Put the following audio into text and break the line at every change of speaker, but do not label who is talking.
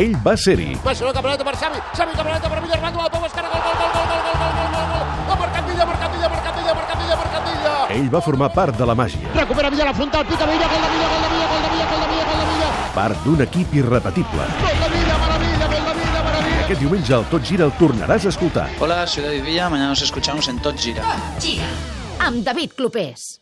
Ell va ser-hi.
Barcelona, campeonato per Xavi. Xavi, campeonato per Villarmando. Al Pau Escara, gol, gol, gol, gol, gol, gol, gol, gol, gol. Ha marcat Villa, marcat Villa, marcat Villa, marcat Villa, marcat Villa.
Ell va formar part de la màgia,
Recupera Villa la frontal, pica Villa, gol de Villa, gol de Villa, gol de Villa, gol de Villa, gol de Villa.
part d'un equip irrepetible.
Gol de Villa, maravilla, gol de Villa, maravilla.
Aquest diumenge al Tot Gira el tornaràs a escoltar.
Hola, soy David Villa. Mañana nos escuchamos en Tot Gira.
Gira, amb David Clopés.